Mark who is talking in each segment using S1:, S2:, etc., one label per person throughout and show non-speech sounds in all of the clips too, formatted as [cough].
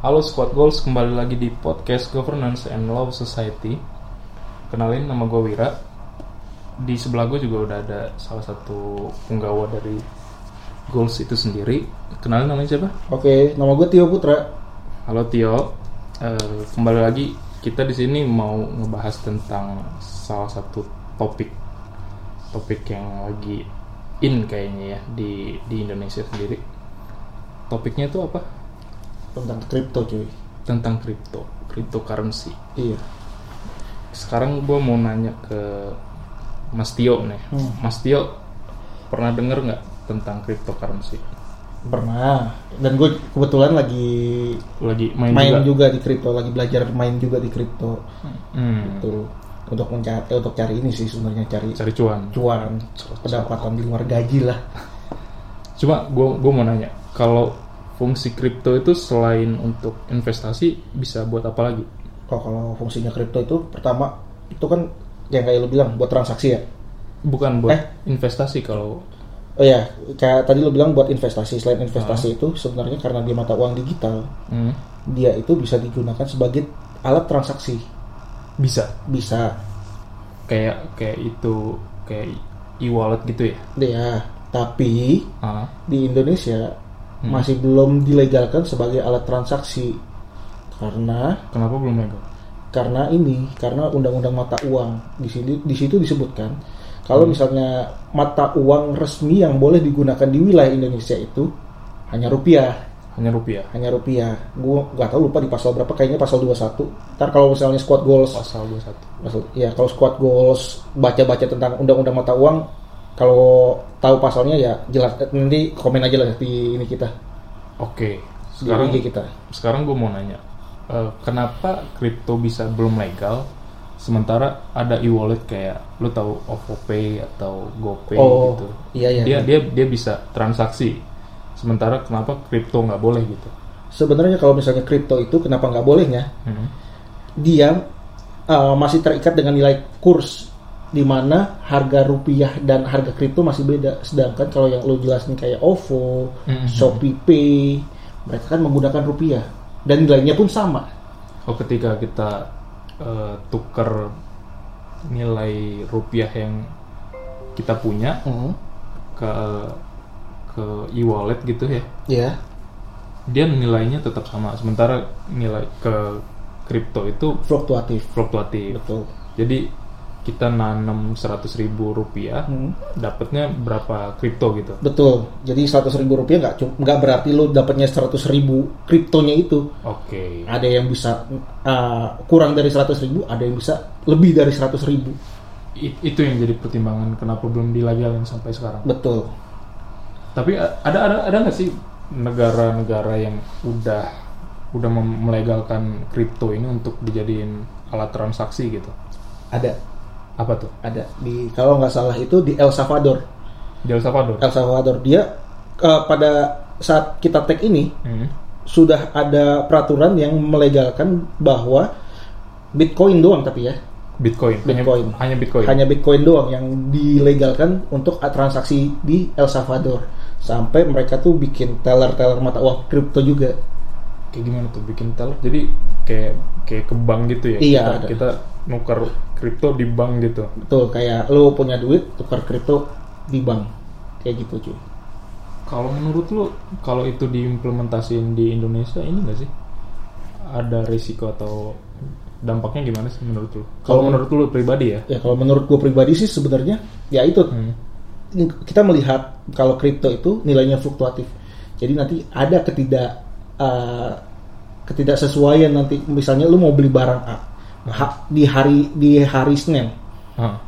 S1: Halo Squad Goals, kembali lagi di podcast Governance and Law Society. Kenalin nama gue Wira. Di sebelah gue juga udah ada salah satu penggawa dari Goals itu sendiri. Kenalin namanya siapa?
S2: Oke, nama gue Tio Putra.
S1: Halo Tio. Eh, kembali lagi kita di sini mau ngebahas tentang salah satu topik topik yang lagi in kayaknya ya di di Indonesia sendiri. Topiknya itu apa?
S2: Tentang kripto cuy.
S1: Tentang kripto, cryptocurrency.
S2: Iya.
S1: sekarang gue mau nanya ke Mas Tio nih.
S2: Hmm.
S1: Mas Tio pernah denger nggak tentang cryptocurrency?
S2: Pernah. Dan gue kebetulan lagi
S1: Lagi main,
S2: main,
S1: juga.
S2: juga. di kripto, lagi belajar main juga di kripto.
S1: Hmm,
S2: Betul. Untuk mencari eh, untuk cari ini sih sebenarnya cari
S1: cari cuan.
S2: cuan, pendapatan di luar gaji lah.
S1: Cuma gue gua mau nanya, kalau fungsi kripto itu selain untuk investasi bisa buat apa lagi?
S2: Kalau kalau fungsinya kripto itu pertama itu kan yang kayak lo bilang buat transaksi ya.
S1: Bukan buat
S2: Eh?
S1: investasi kalau
S2: Oh ya, kayak tadi lo bilang buat investasi. Selain
S1: Ah.
S2: investasi itu sebenarnya karena dia mata uang digital,
S1: hmm,
S2: dia itu bisa digunakan sebagai alat transaksi.
S1: bisa
S2: Bisa
S1: kayak kayak itu kayak e-wallet gitu ya?
S2: Ya, tapi
S1: Ah,
S2: di Indonesia masih belum dilegalkan sebagai alat transaksi karena
S1: kenapa belum legal?
S2: karena ini karena undang-undang mata uang di sini di situ disebutkan kalau misalnya mata uang resmi yang boleh digunakan di wilayah Indonesia itu hanya rupiah
S1: Hanya rupiah.
S2: hanya rupiah gua nggak tahu lupa di pasal berapa kayaknya pasal 21 ntar kalau misalnya squad goals
S1: Pasal 21.
S2: Maksud, ya kalau squad goals baca-baca tentang undang-undang mata uang kalau tahu pasalnya ya jelas eh, nanti komen aja lah di ini kita
S1: Oke.
S2: di
S1: Sekarang
S2: IG kita
S1: sekarang gue mau nanya eh, kenapa kripto bisa belum legal sementara ada e-wallet kayak lu tahu OVOPay atau GoPay
S2: oh
S1: gitu
S2: iya iya
S1: dia dia dia bisa transaksi sementara kenapa kripto nggak boleh gitu
S2: sebenarnya kalau misalnya kripto itu kenapa nggak bolehnya
S1: Hmm.
S2: dia eh, masih terikat dengan nilai kurs di mana harga rupiah dan harga kripto masih beda sedangkan kalau yang lo jelasin kayak OVO,
S1: Mhm.
S2: Shopee Pay mereka kan menggunakan rupiah dan nilainya pun sama
S1: oh ketika kita eh, tuker nilai rupiah yang kita punya ke ke e-wallet gitu ya
S2: ya
S1: dia nilainya tetap sama sementara nilai ke kripto itu
S2: fluktuatif
S1: fluktuatif
S2: betul
S1: Jadi kita nanam 100.000 ribu rupiah,
S2: Hmm.
S1: dapatnya berapa kripto gitu?
S2: Betul. Jadi 100.000 ribu rupiah nggak cum- nggak berarti lo dapatnya 100.000 ribu kriptonya itu.
S1: Oke,
S2: Ada yang bisa uh, kurang dari 100.000 ribu, ada yang bisa lebih dari 100.000 ribu.
S1: I- itu yang jadi pertimbangan kenapa belum dilegalin sampai sekarang.
S2: Betul.
S1: Tapi a- ada ada ada nggak sih negara-negara yang udah udah mem- melegalkan kripto ini untuk dijadiin alat transaksi gitu?
S2: Ada,
S1: Apa tuh?
S2: ada. Di kalau nggak salah itu di El Salvador.
S1: Di El Salvador.
S2: El Salvador dia uh, pada saat kita tag ini
S1: Hmm.
S2: sudah ada peraturan yang melegalkan bahwa Bitcoin doang tapi ya
S1: Bitcoin. Hanya-
S2: Bitcoin.
S1: Hanya, Bitcoin.
S2: Hanya Bitcoin doang yang dilegalkan untuk transaksi di El Salvador. Sampai mereka tuh bikin teller-teller mata uang kripto juga.
S1: Kayak gimana tuh bikin teller? Jadi kayak kayak ke bank gitu ya?
S2: Iya,
S1: Kita,
S2: ada.
S1: kita nuker kripto di bank gitu.
S2: Betul, kayak lo punya duit tukar kripto di bank. Kayak gitu cuy.
S1: Kalau menurut lu, kalau itu diimplementasiin di Indonesia ini nggak sih? Ada risiko atau dampaknya gimana sih menurut lu? Kalau
S2: Kalau-
S1: menurut lu pribadi ya?
S2: Ya kalau menurut gue pribadi sih sebenarnya ya itu
S1: Hmm.
S2: kita melihat kalau kripto itu nilainya fluktuatif. Jadi nanti ada ketidak eh, ketidaksesuaian nanti misalnya lu mau beli barang A Ha- di hari di hari Senin
S1: Hah,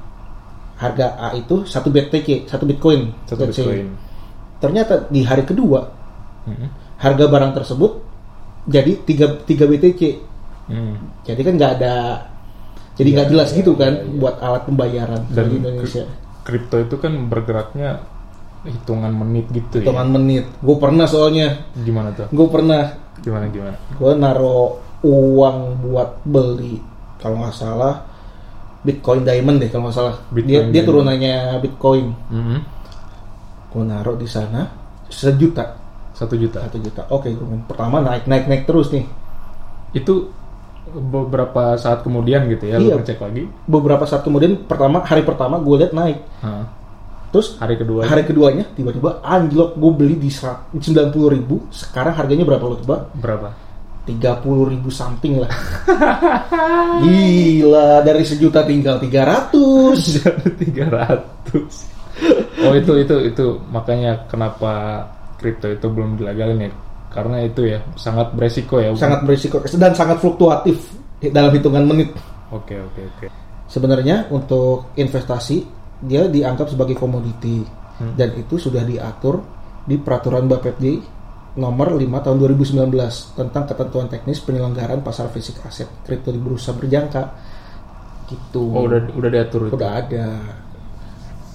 S2: harga A itu satu BTC, satu Bitcoin.
S1: satu
S2: let's say.
S1: Bitcoin.
S2: Ternyata di hari kedua
S1: Hmm.
S2: harga barang tersebut jadi 3 3 BTC.
S1: Hmm.
S2: Jadi kan nggak ada jadi nggak
S1: Iya,
S2: jelas gitu kan buat alat pembayaran
S1: Dan
S2: di Indonesia.
S1: Kripto itu kan bergeraknya hitungan menit gitu
S2: Hitungan
S1: ya?
S2: menit. Gue pernah soalnya,
S1: Gimana tuh?
S2: gue pernah
S1: Gimana gimana?
S2: gue naro uang buat beli kalau nggak salah Bitcoin Diamond deh kalau nggak salah. dia
S1: Bitcoin
S2: dia
S1: Diamond.
S2: turunannya Bitcoin.
S1: Hmm.
S2: Gue naro di sana sejuta.
S1: Satu juta.
S2: satu juta oke gue main. pertama naik naik naik terus nih
S1: itu beberapa saat kemudian gitu ya
S2: Iya.
S1: lu ngecek lagi
S2: beberapa saat kemudian pertama hari pertama gue lihat naik
S1: Hah.
S2: terus
S1: hari kedua
S2: hari keduanya tiba-tiba anjlok gue beli di sembilan puluh ribu sekarang harganya berapa lo coba
S1: berapa
S2: tiga puluh ribu something lah gila dari sejuta tinggal tiga ratus
S1: tiga ratus oh itu itu itu makanya kenapa kripto itu belum dilegalin ya karena itu ya sangat beresiko ya
S2: sangat berisiko dan sangat fluktuatif dalam hitungan menit
S1: oke oke oke
S2: sebenarnya untuk investasi dia dianggap sebagai komoditi
S1: Hmm.
S2: dan itu sudah diatur di peraturan Bapepti nomor 5 tahun 2019 tentang ketentuan teknis penyelenggaraan pasar fisik aset kripto di bursa berjangka gitu
S1: oh udah udah diatur itu.
S2: Udah ada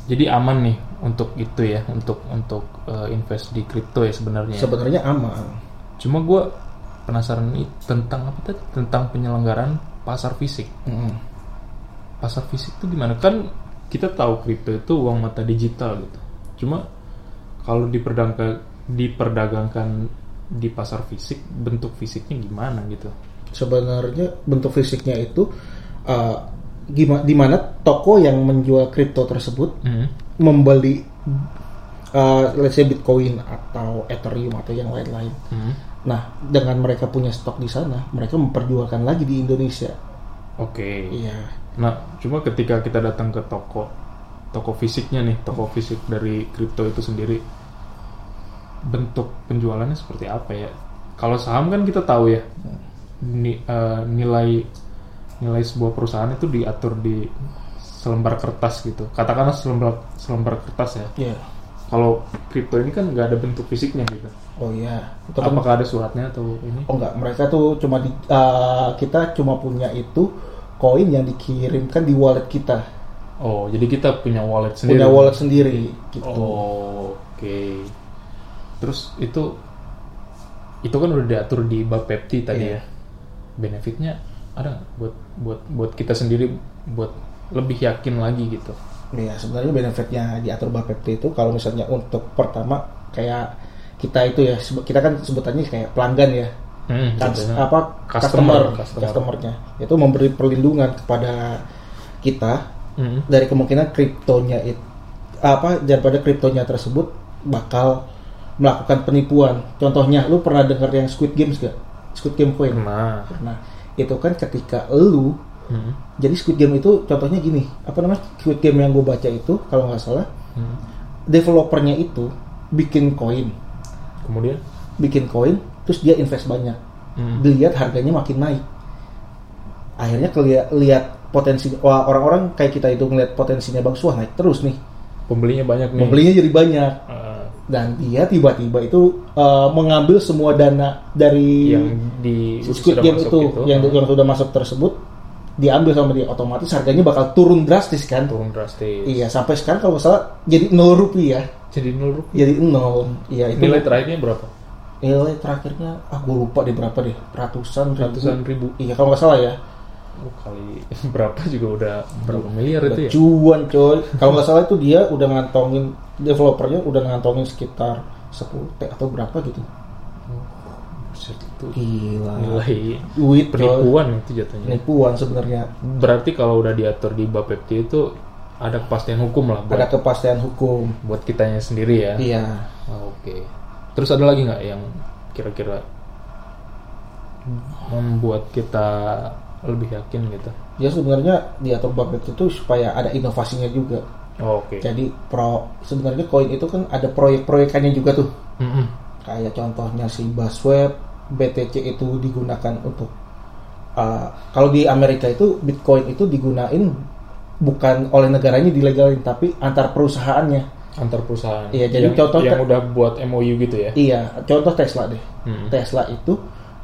S1: jadi aman nih untuk itu ya untuk untuk eh, invest di kripto ya sebenarnya ya.
S2: sebenarnya aman
S1: cuma gue penasaran nih tentang apa tadi tentang penyelenggaraan pasar fisik
S2: Mm.
S1: pasar fisik itu gimana kan kita tahu kripto itu uang mata digital gitu cuma kalau diperdagangkan diperdagangkan di pasar fisik bentuk fisiknya gimana gitu
S2: sebenarnya bentuk fisiknya itu eh, gima- di mana toko yang menjual kripto tersebut
S1: Hmm.
S2: membeli eh, let's say Bitcoin atau Ethereum atau yang lain-lain.
S1: Hmm.
S2: Nah, dengan mereka punya stok di sana, mereka memperjualkan lagi di Indonesia.
S1: oke
S2: Iya.
S1: nah cuma ketika kita datang ke toko toko fisiknya nih toko fisik dari kripto itu sendiri bentuk penjualannya seperti apa ya kalau saham kan kita tahu ya ni- eh, nilai nilai sebuah perusahaan itu diatur di selembar kertas gitu katakanlah selembar selembar kertas ya
S2: Iya.
S1: kalau kripto ini kan nggak ada bentuk fisiknya gitu
S2: Oh iya. Itu kan-
S1: apakah ada suratnya atau ini
S2: oh enggak, mereka tuh cuma di eh, kita cuma punya itu koin yang dikirimkan di wallet kita.
S1: oh jadi kita punya wallet sendiri
S2: Punya wallet sendiri gitu.
S1: Oh, oke. Terus itu itu kan udah diatur di Bapepti tadi ya.
S2: Iya.
S1: Benefitnya ada nggak buat buat buat kita sendiri buat lebih yakin lagi gitu.
S2: Iya, sebenarnya benefitnya diatur Bapepti itu kalau misalnya untuk pertama kayak kita itu ya sebe- kita kan sebutannya kayak pelanggan ya.
S1: Hmm,
S2: Kans-
S1: contohnya.
S2: apa
S1: Customer,
S2: customer,
S1: customer.
S2: customernya itu memberi perlindungan kepada kita
S1: Hmm,
S2: dari kemungkinan kriptonya itu apa daripada kriptonya tersebut bakal melakukan penipuan. Contohnya, lu pernah dengar yang Squid Games gak? Squid Game Coin.
S1: Pernah.
S2: Nah, itu kan ketika lu
S1: Hmm,
S2: jadi Squid Game itu contohnya gini, apa namanya? Squid Game yang gue baca itu kalau nggak salah
S1: hmm.
S2: developernya itu bikin koin,
S1: Kemudian
S2: bikin koin, terus dia invest banyak
S1: hmm,
S2: dilihat harganya makin naik. Akhirnya kelihat lihat potensi wah, orang-orang kayak kita itu ngeliat potensinya bagus wah naik terus nih.
S1: pembelinya banyak nih.
S2: Membelinya jadi banyak
S1: Eh,
S2: dan dia tiba-tiba itu eh, mengambil semua dana dari
S1: yang di
S2: Squid
S1: sudah
S2: Game
S1: masuk
S2: itu yang yang sudah masuk tersebut diambil sama dia otomatis harganya bakal turun drastis kan.
S1: turun drastis.
S2: Iya sampai sekarang kalau nggak salah jadi 0 rupiah
S1: Jadi nol rupiah.
S2: jadi 0 iya itu
S1: Nilai terakhirnya berapa?
S2: nilai terakhirnya ah gue lupa deh berapa deh ratusan ribu.
S1: Ratusan ribu.
S2: iya kalau nggak salah ya
S1: Oh, kali [laughs] berapa juga udah berapa miliar itu ya?
S2: cuan coy kalau nggak salah itu dia udah ngantongin developernya udah ngantongin sekitar 10 t atau berapa gitu
S1: Buset, itu
S2: gila
S1: nilai
S2: duit coy.
S1: penipuan itu jatuhnya.
S2: penipuan sebenarnya
S1: Berarti kalau udah diatur di Bapepti itu ada kepastian hukum lah buat,
S2: ada kepastian hukum
S1: buat kitanya sendiri ya.
S2: iya
S1: Oh, Oke. Terus ada lagi nggak yang kira-kira membuat kita lebih yakin gitu?
S2: dia sebenarnya diatur banget itu supaya ada inovasinya juga
S1: Oh, Oke.
S2: jadi pro sebenarnya koin itu kan ada proyek-proyekannya juga tuh
S1: Mm-mm.
S2: kayak contohnya si Basweb BTC itu digunakan untuk uh, kalau di Amerika itu Bitcoin itu digunain bukan oleh negaranya dilegalin tapi antar perusahaannya
S1: Antar perusahaan.
S2: Iya, jadi
S1: yang,
S2: contoh-
S1: yang udah buat MOU gitu ya.
S2: iya contoh Tesla deh
S1: Mm-mm.
S2: Tesla itu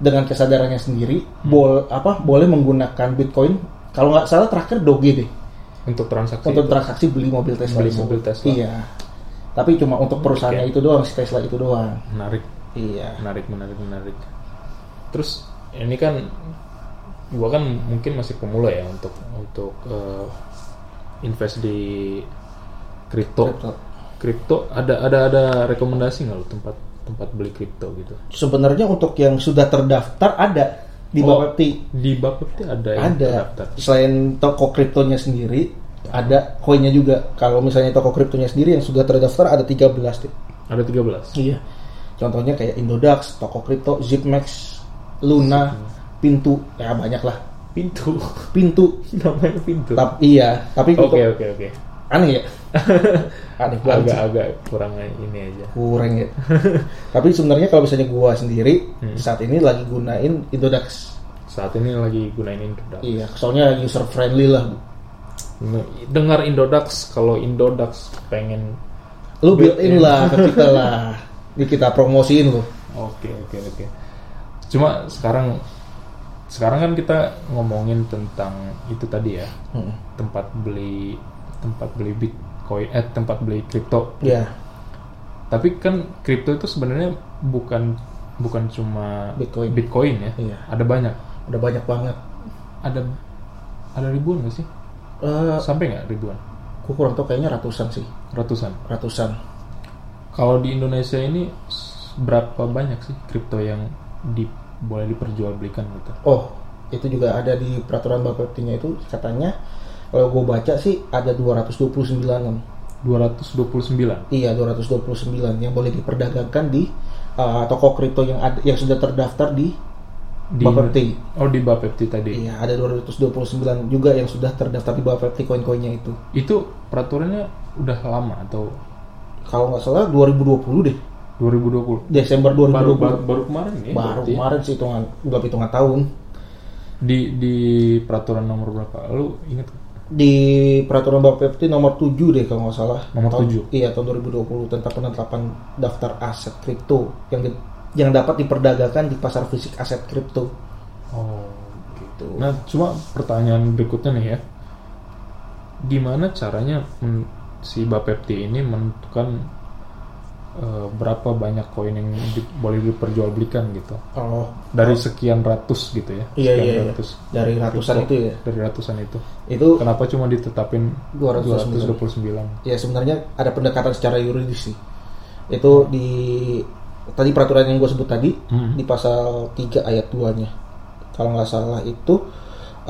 S2: dengan kesadarannya sendiri
S1: Hmm.
S2: bol apa boleh menggunakan Bitcoin kalau nggak salah terakhir Doge deh
S1: Untuk transaksi.
S2: untuk transaksi beli mobil Tesla
S1: Beli
S2: tersebut.
S1: mobil Tesla.
S2: iya tapi cuma untuk perusahaannya itu doang si Tesla itu doang
S1: menarik.
S2: iya
S1: menarik menarik menarik terus ini kan gua kan mungkin masih pemula ya untuk untuk eh, invest di kripto kripto ada ada ada rekomendasi nggak lo tempat tempat beli kripto gitu
S2: sebenarnya untuk yang sudah terdaftar ada di
S1: Oh.
S2: Bapepti
S1: Di Bapepti ada yang
S2: ada
S1: terdaftar. Ya.
S2: selain toko kriptonya sendiri ada koinnya juga kalau misalnya toko kriptonya sendiri yang sudah terdaftar ada 13 Dit.
S1: Ada 13.
S2: Iya. Contohnya kayak Indodax, Toko Kripto, Zipmax, Luna, Pintu, ya banyak lah.
S1: Pintu.
S2: Pintu,
S1: [laughs] Namanya pintu. Oke,
S2: tapi iya, tapi
S1: oke,
S2: Pintu-
S1: oke.
S2: aneh ya.
S1: [laughs]
S2: aneh banget.
S1: Agak-agak kurang ini aja.
S2: Kurang ya. tapi sebenarnya kalau misalnya gua sendiri
S1: Hmm.
S2: saat ini lagi gunain Indodax.
S1: Saat ini lagi gunain Indodax.
S2: Iya, soalnya user friendly lah.
S1: Dengar Indodax kalau Indodax pengen
S2: Lu built in lah ke kita lah. Ini kita promosiin lu.
S1: Oke oke oke. Cuma sekarang sekarang kan kita ngomongin tentang itu tadi ya
S2: Hmm.
S1: tempat beli tempat beli bitcoin eh tempat beli kripto.
S2: Iya,
S1: Tapi kan kripto itu sebenarnya bukan bukan cuma
S2: Bitcoin.
S1: ya.
S2: Iya.
S1: Ada banyak.
S2: udah banyak banget.
S1: Ada ada ribuan nggak sih?
S2: Eh,
S1: Sampai nggak ribuan?
S2: gua kurang tau kayaknya ratusan sih,
S1: Ratusan.
S2: ratusan.
S1: Kalau di Indonesia ini s- berapa banyak sih kripto yang di, boleh diperjualbelikan gitu?
S2: Oh, itu juga ada di peraturan Bapeptinya itu katanya kalau gue baca sih ada 229 Om.
S1: 229.
S2: Iya, 229 yang boleh diperdagangkan di eh, toko kripto yang ada, yang sudah terdaftar di,
S1: di
S2: Bapepti.
S1: Oh di Bapepti tadi.
S2: Iya, ada 229 juga yang sudah terdaftar di Bapepti koin-koinnya itu.
S1: Itu peraturannya udah lama atau
S2: Kalau nggak salah 2020 deh,
S1: 2020?
S2: Desember
S1: Baru
S2: 2020. Baru,
S1: baru, baru kemarin ya. berarti ya?
S2: kemarin sih hitungan udah hitungan tahun
S1: Di di peraturan nomor berapa? Lu inget nggak?
S2: di peraturan Bapepti nomor 7 deh kalau nggak salah.
S1: Nomor
S2: Tahun-
S1: 7?
S2: Iya, tahun 2020 tentang penetapan daftar aset kripto yang di- yang dapat diperdagangkan di pasar fisik aset kripto.
S1: Oh, gitu. Nah, cuma pertanyaan berikutnya nih ya. Gimana caranya men- si Bapepti ini menentukan eh, berapa banyak koin yang di- boleh diperjualbelikan gitu?
S2: Oh,
S1: Dari sekian ratus gitu ya.
S2: Iya,
S1: sekian
S2: iya, iya.
S1: ratus.
S2: dari ratusan itu ya.
S1: Dari ratusan itu.
S2: Itu
S1: Kenapa cuma ditetapin
S2: 229.
S1: 229?
S2: ya sebenarnya ada pendekatan secara yuridis sih. Itu di tadi peraturan yang gue sebut tadi
S1: Hmm.
S2: di pasal 3 ayat 2-nya. Kalau nggak salah itu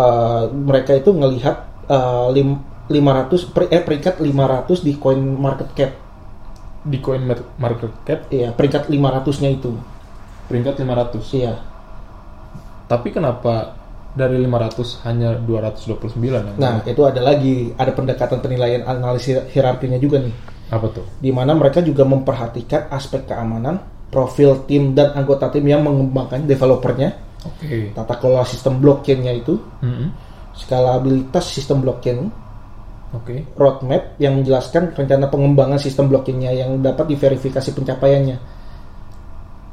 S2: eh, mereka itu ngelihat eh, lim- 500 per, eh, peringkat 500 di coin market cap.
S1: di coin mar- market cap
S2: Iya, peringkat 500-nya itu.
S1: peringkat 500.
S2: Iya.
S1: Tapi kenapa dari 500 hanya 229 yang
S2: Nah, itu ada lagi ada pendekatan penilaian analisis hierarkinya juga nih,
S1: apa tuh?
S2: di mana mereka juga memperhatikan aspek keamanan, profil tim dan anggota tim yang mengembangkan developernya,
S1: Oke.
S2: tata kelola sistem blockchain-nya itu,
S1: Mm-mm.
S2: skalabilitas sistem blockchain,
S1: Oke.
S2: roadmap yang menjelaskan rencana pengembangan sistem blockchain-nya yang dapat diverifikasi pencapaiannya.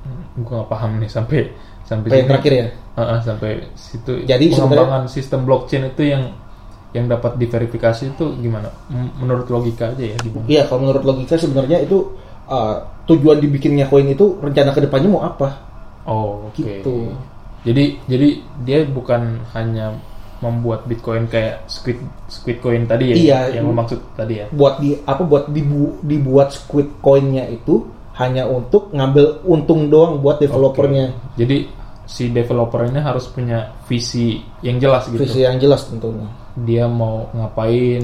S1: Hmm, Gua nggak paham nih sampai sampai
S2: Yang
S1: sini.
S2: terakhir ya.
S1: Ah, ah, sampai situ.
S2: Jadi
S1: pengembangan sistem blockchain itu yang yang dapat diverifikasi itu gimana? M- Menurut logika aja ya gimana?
S2: Iya, kalau menurut logika sebenarnya itu eh, tujuan dibikinnya koin itu rencana kedepannya mau apa?
S1: Oh, oke.
S2: Gitu.
S1: Jadi jadi dia bukan hanya membuat Bitcoin kayak squid squid coin tadi ya
S2: Iya.
S1: yang lo maksud tadi ya.
S2: buat di apa buat dibu, dibuat squid coinnya itu hanya untuk ngambil untung doang buat developernya
S1: Jadi si developer ini harus punya visi yang jelas gitu. Nah,
S2: visi yang jelas tentunya
S1: Dia mau ngapain,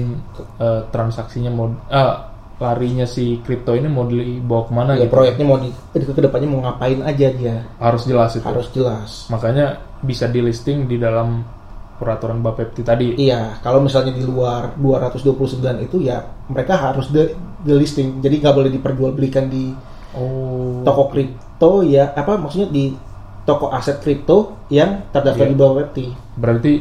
S1: eh, transaksinya mau eh, larinya si kripto ini mau dibawa kemana
S2: ya
S1: gitu.
S2: proyeknya mau di ke kedepannya mau ngapain aja dia
S1: Harus jelas itu.
S2: harus jelas
S1: Makanya bisa di listing di dalam peraturan Bapepti tadi.
S2: iya kalau misalnya di luar 229 itu ya mereka harus de, delisting jadi nggak boleh diperjualbelikan di
S1: Oh.
S2: toko kripto ya apa maksudnya di toko aset kripto yang terdaftar
S1: Iya.
S2: di bawah Webti
S1: Berarti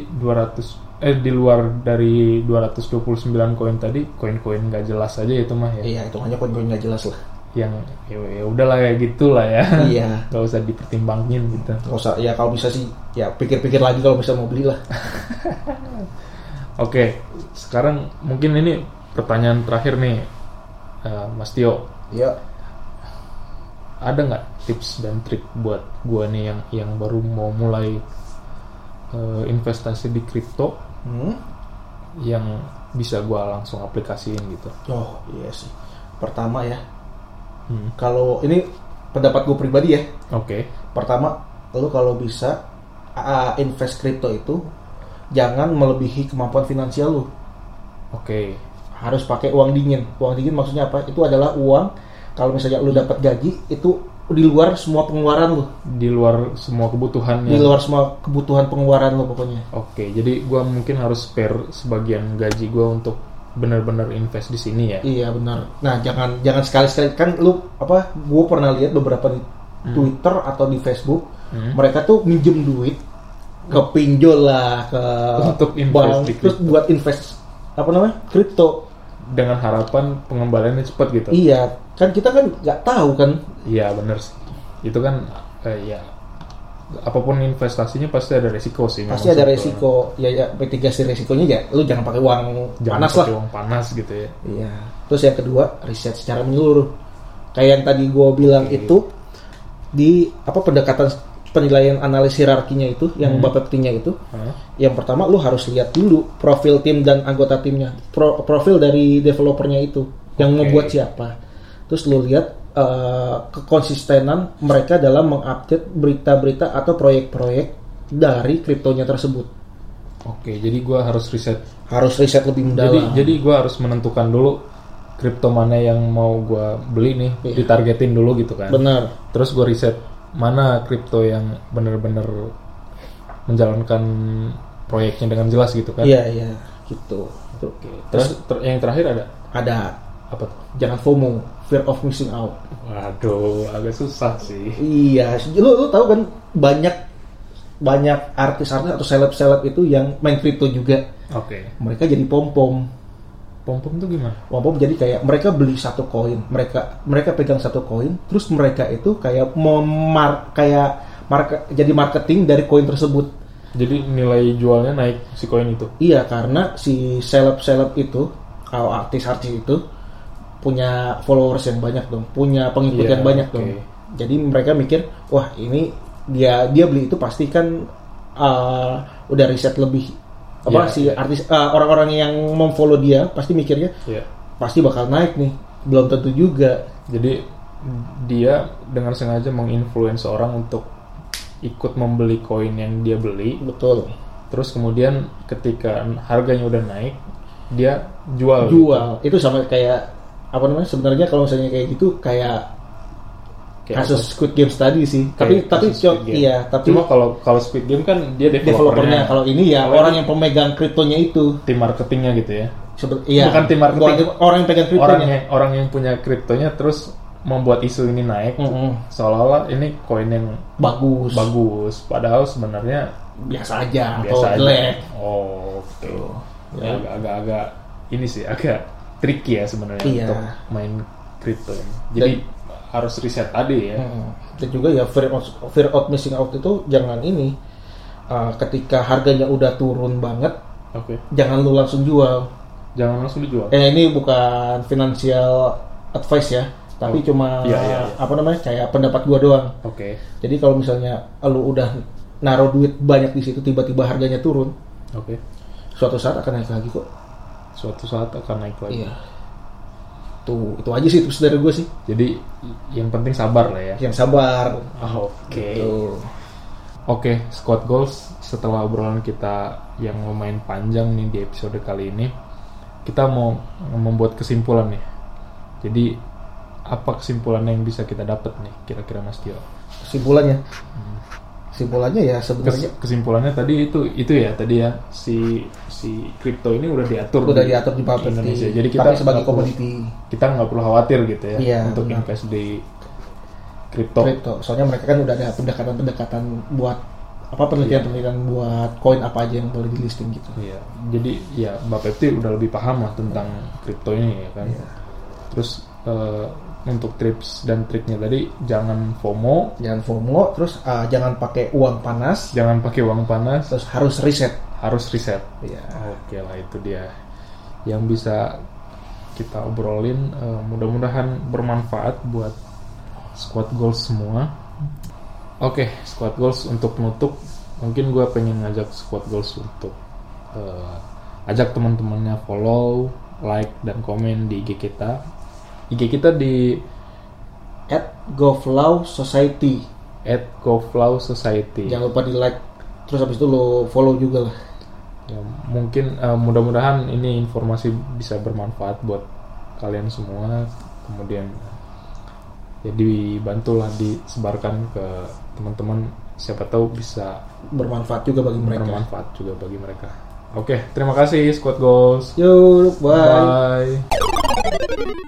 S1: 200 eh di luar dari 229 koin tadi, koin-koin nggak jelas aja itu mah ya.
S2: iya itu hanya koin-koin nggak jelas lah [laughs]
S1: Yang ya, ya udahlah ya gitulah ya. [laughs]
S2: iya
S1: Gak usah dipertimbangin gitu.
S2: Nggak usah, ya kalau bisa sih ya pikir-pikir lagi kalau bisa mau beli lah.
S1: Oke, sekarang mungkin ini pertanyaan terakhir nih, Eh, Mas Tio.
S2: [laughs] Iya.
S1: Ada nggak tips dan trik buat gua nih yang yang baru mau mulai eh, investasi di kripto
S2: Hmm?
S1: yang bisa gua langsung aplikasiin gitu?
S2: Oh iya sih. Pertama ya,
S1: Hmm,
S2: kalau ini pendapat gue pribadi ya.
S1: Oke,
S2: Pertama, lo kalau bisa uh, invest kripto itu jangan melebihi kemampuan finansial lu.
S1: Oke.
S2: Harus pakai uang dingin. Uang dingin maksudnya apa? Itu adalah uang kalau misalnya lu dapat gaji itu di luar semua pengeluaran lu,
S1: Di luar semua kebutuhannya.
S2: di luar semua kebutuhan pengeluaran lu pokoknya.
S1: Oke, jadi gua mungkin harus spare sebagian gaji gua untuk benar-benar invest di sini ya.
S2: Iya benar. Nah jangan jangan sekali sekali kan lu apa? Gue pernah lihat beberapa di Twitter atau di Facebook
S1: Hmm.
S2: mereka tuh minjem duit ke pinjol lah ke
S1: Untuk invest
S2: bank
S1: di
S2: terus buat invest apa namanya kripto.
S1: Dengan harapan pengembaliannya cepat gitu.
S2: Iya kan kita kan nggak tahu kan.
S1: Iya, bener sih. Itu kan eh, ya apapun investasinya pasti ada resiko sih. memang
S2: Pasti ada
S1: sebetulnya.
S2: resiko ya, ya mitigasi resikonya ya lu jangan pakai uang
S1: Jangan
S2: panas lah.
S1: pakai uang panas gitu ya.
S2: Iya. Terus yang kedua, riset secara menyeluruh. Kayak yang tadi gue bilang itu di apa pendekatan penilaian analis hierarkinya itu yang bapak petinya itu.
S1: Hah?
S2: Yang pertama lu harus lihat dulu profil tim dan anggota timnya. Pro- profil dari developernya itu yang
S1: Oke.
S2: membuat siapa. Terus lu lihat eh, kekonsistenan mereka dalam mengupdate berita-berita atau proyek-proyek dari kriptonya tersebut.
S1: Oke, jadi gua harus riset.
S2: Harus riset lebih
S1: Jadi
S2: mendalam.
S1: jadi gua harus menentukan dulu kripto mana yang mau gua beli nih,
S2: Iya.
S1: ditargetin dulu gitu kan.
S2: Benar.
S1: Terus gue riset mana kripto yang bener-bener menjalankan proyeknya dengan jelas gitu kan.
S2: Iya iya gitu.
S1: Oke. Terus ter- yang terakhir ada
S2: Ada
S1: apa? tuh?
S2: jangan FOMO, fear of missing out.
S1: Waduh, agak susah sih.
S2: Iya, lu lu tahu kan banyak banyak artis-artis atau seleb-seleb itu yang main kripto juga.
S1: Oke.
S2: Mereka jadi pom-pom.
S1: Pom-pom tuh gimana?
S2: Pom-pom jadi kayak mereka beli satu koin, mereka mereka pegang satu koin, terus mereka itu kayak memar kayak market, jadi marketing dari koin tersebut.
S1: Jadi nilai jualnya naik si koin itu.
S2: Iya, karena si seleb-seleb itu, kalau artis-artis itu punya followers yang banyak dong, punya pengikut
S1: Iya,
S2: yang banyak
S1: oke.
S2: dong. Jadi mereka mikir, wah ini dia dia beli itu pasti kan uh, udah riset lebih
S1: Iya,
S2: apa si artis uh, orang-orang yang memfollow dia pasti mikirnya
S1: Iya.
S2: pasti bakal naik nih. Belum tentu juga.
S1: Jadi dia dengan sengaja menginfluence orang untuk ikut membeli koin yang dia beli.
S2: Betul.
S1: Terus kemudian ketika harganya udah naik, dia jual.
S2: Jual itu sama kayak apa namanya? Sebenarnya kalau misalnya kayak gitu kayak
S1: Kayak
S2: kasus Squid Games tadi sih. tapi
S1: Kayak
S2: tapi
S1: kasus Squid
S2: co-
S1: Game.
S2: iya, tapi
S1: cuma kalau kalau Squid Game kan dia
S2: developernya
S1: developernya,
S2: kalau ini ya
S1: Kalau
S2: orang
S1: ini-
S2: yang pemegang kriptonya itu
S1: tim marketingnya gitu ya
S2: Sebe- iya
S1: Bukan tim marketing.
S2: Bukan- orang yang pegang
S1: orang
S2: kriptonya
S1: yang orang yang punya kriptonya terus membuat isu ini naik
S2: Mm-mm.
S1: seolah-olah ini koin yang
S2: bagus
S1: bagus padahal sebenarnya
S2: biasa aja atau
S1: biasa aja
S2: jelek
S1: oh oke Ya, agak-agak ini sih agak tricky ya sebenarnya
S2: Iya.
S1: untuk main kripto ini. jadi harus riset tadi ya
S2: Mm. dan juga ya fear of, fear of missing out itu jangan ini uh, ketika harganya udah turun banget
S1: oke
S2: jangan lu langsung jual
S1: jangan langsung dijual
S2: eh ini bukan financial advice ya tapi cuma
S1: Iya, iya, iya.
S2: apa namanya kayak pendapat gua doang
S1: oke
S2: jadi kalau misalnya lu udah naruh duit banyak di situ tiba-tiba harganya turun
S1: oke
S2: suatu saat akan naik lagi kok
S1: suatu saat akan naik lagi
S2: Iya. Tuh, itu aja sih tips dari gue sih.
S1: Jadi yang penting sabar lah ya.
S2: Yang sabar.
S1: Oh, Oke.
S2: Tuh.
S1: Oke, squad goals setelah obrolan kita yang lumayan panjang nih di episode kali ini, kita mau membuat kesimpulan nih. Jadi apa kesimpulan yang bisa kita dapat nih kira-kira Mas Tio?
S2: Kesimpulannya. Kesimpulannya ya
S1: Kes-
S2: sebenarnya
S1: kesimpulannya tadi itu itu ya tadi ya si si kripto ini udah diatur
S2: udah
S1: di
S2: diatur di
S1: di
S2: papel
S1: Indonesia. Jadi kita
S2: tapi
S1: nggak
S2: sebagai
S1: perlu-
S2: komoditi
S1: kita nggak perlu khawatir gitu ya
S2: Iya,
S1: untuk
S2: benar.
S1: invest di kripto.
S2: kripto. Soalnya mereka kan udah ada pendekatan-pendekatan buat apa penelitian-penelitian buat koin apa aja yang boleh di listing gitu.
S1: Iya, jadi ya Mbak Pepti udah lebih paham lah tentang kripto ini ya kan. Terus eh, untuk tips dan triknya tadi jangan FOMO,
S2: Jangan FOMO, terus ah, jangan pakai uang panas,
S1: jangan pakai uang panas,
S2: terus harus riset.
S1: harus riset.
S2: Iya.
S1: Oke lah itu dia yang bisa kita obrolin. eh, Mudah-mudahan bermanfaat buat squad goals semua. Oke, squad goals untuk penutup. Mungkin gue pengen ngajak squad goals untuk eh, ajak teman-temannya follow, like dan komen di IG kita. IG kita di
S2: At Govlaw Society.
S1: @goflow society. Iya.
S2: Jangan lupa di like terus habis itu lo follow juga lah
S1: Ya, mungkin eh, mudah-mudahan ini informasi bisa bermanfaat buat kalian semua. Kemudian ya dibantulah disebarkan ke teman-teman siapa tahu bisa
S2: bermanfaat juga bagi mereka
S1: bermanfaat juga bagi mereka. Oke, terima kasih Squad Goals.
S2: yuk bye.
S1: Bye.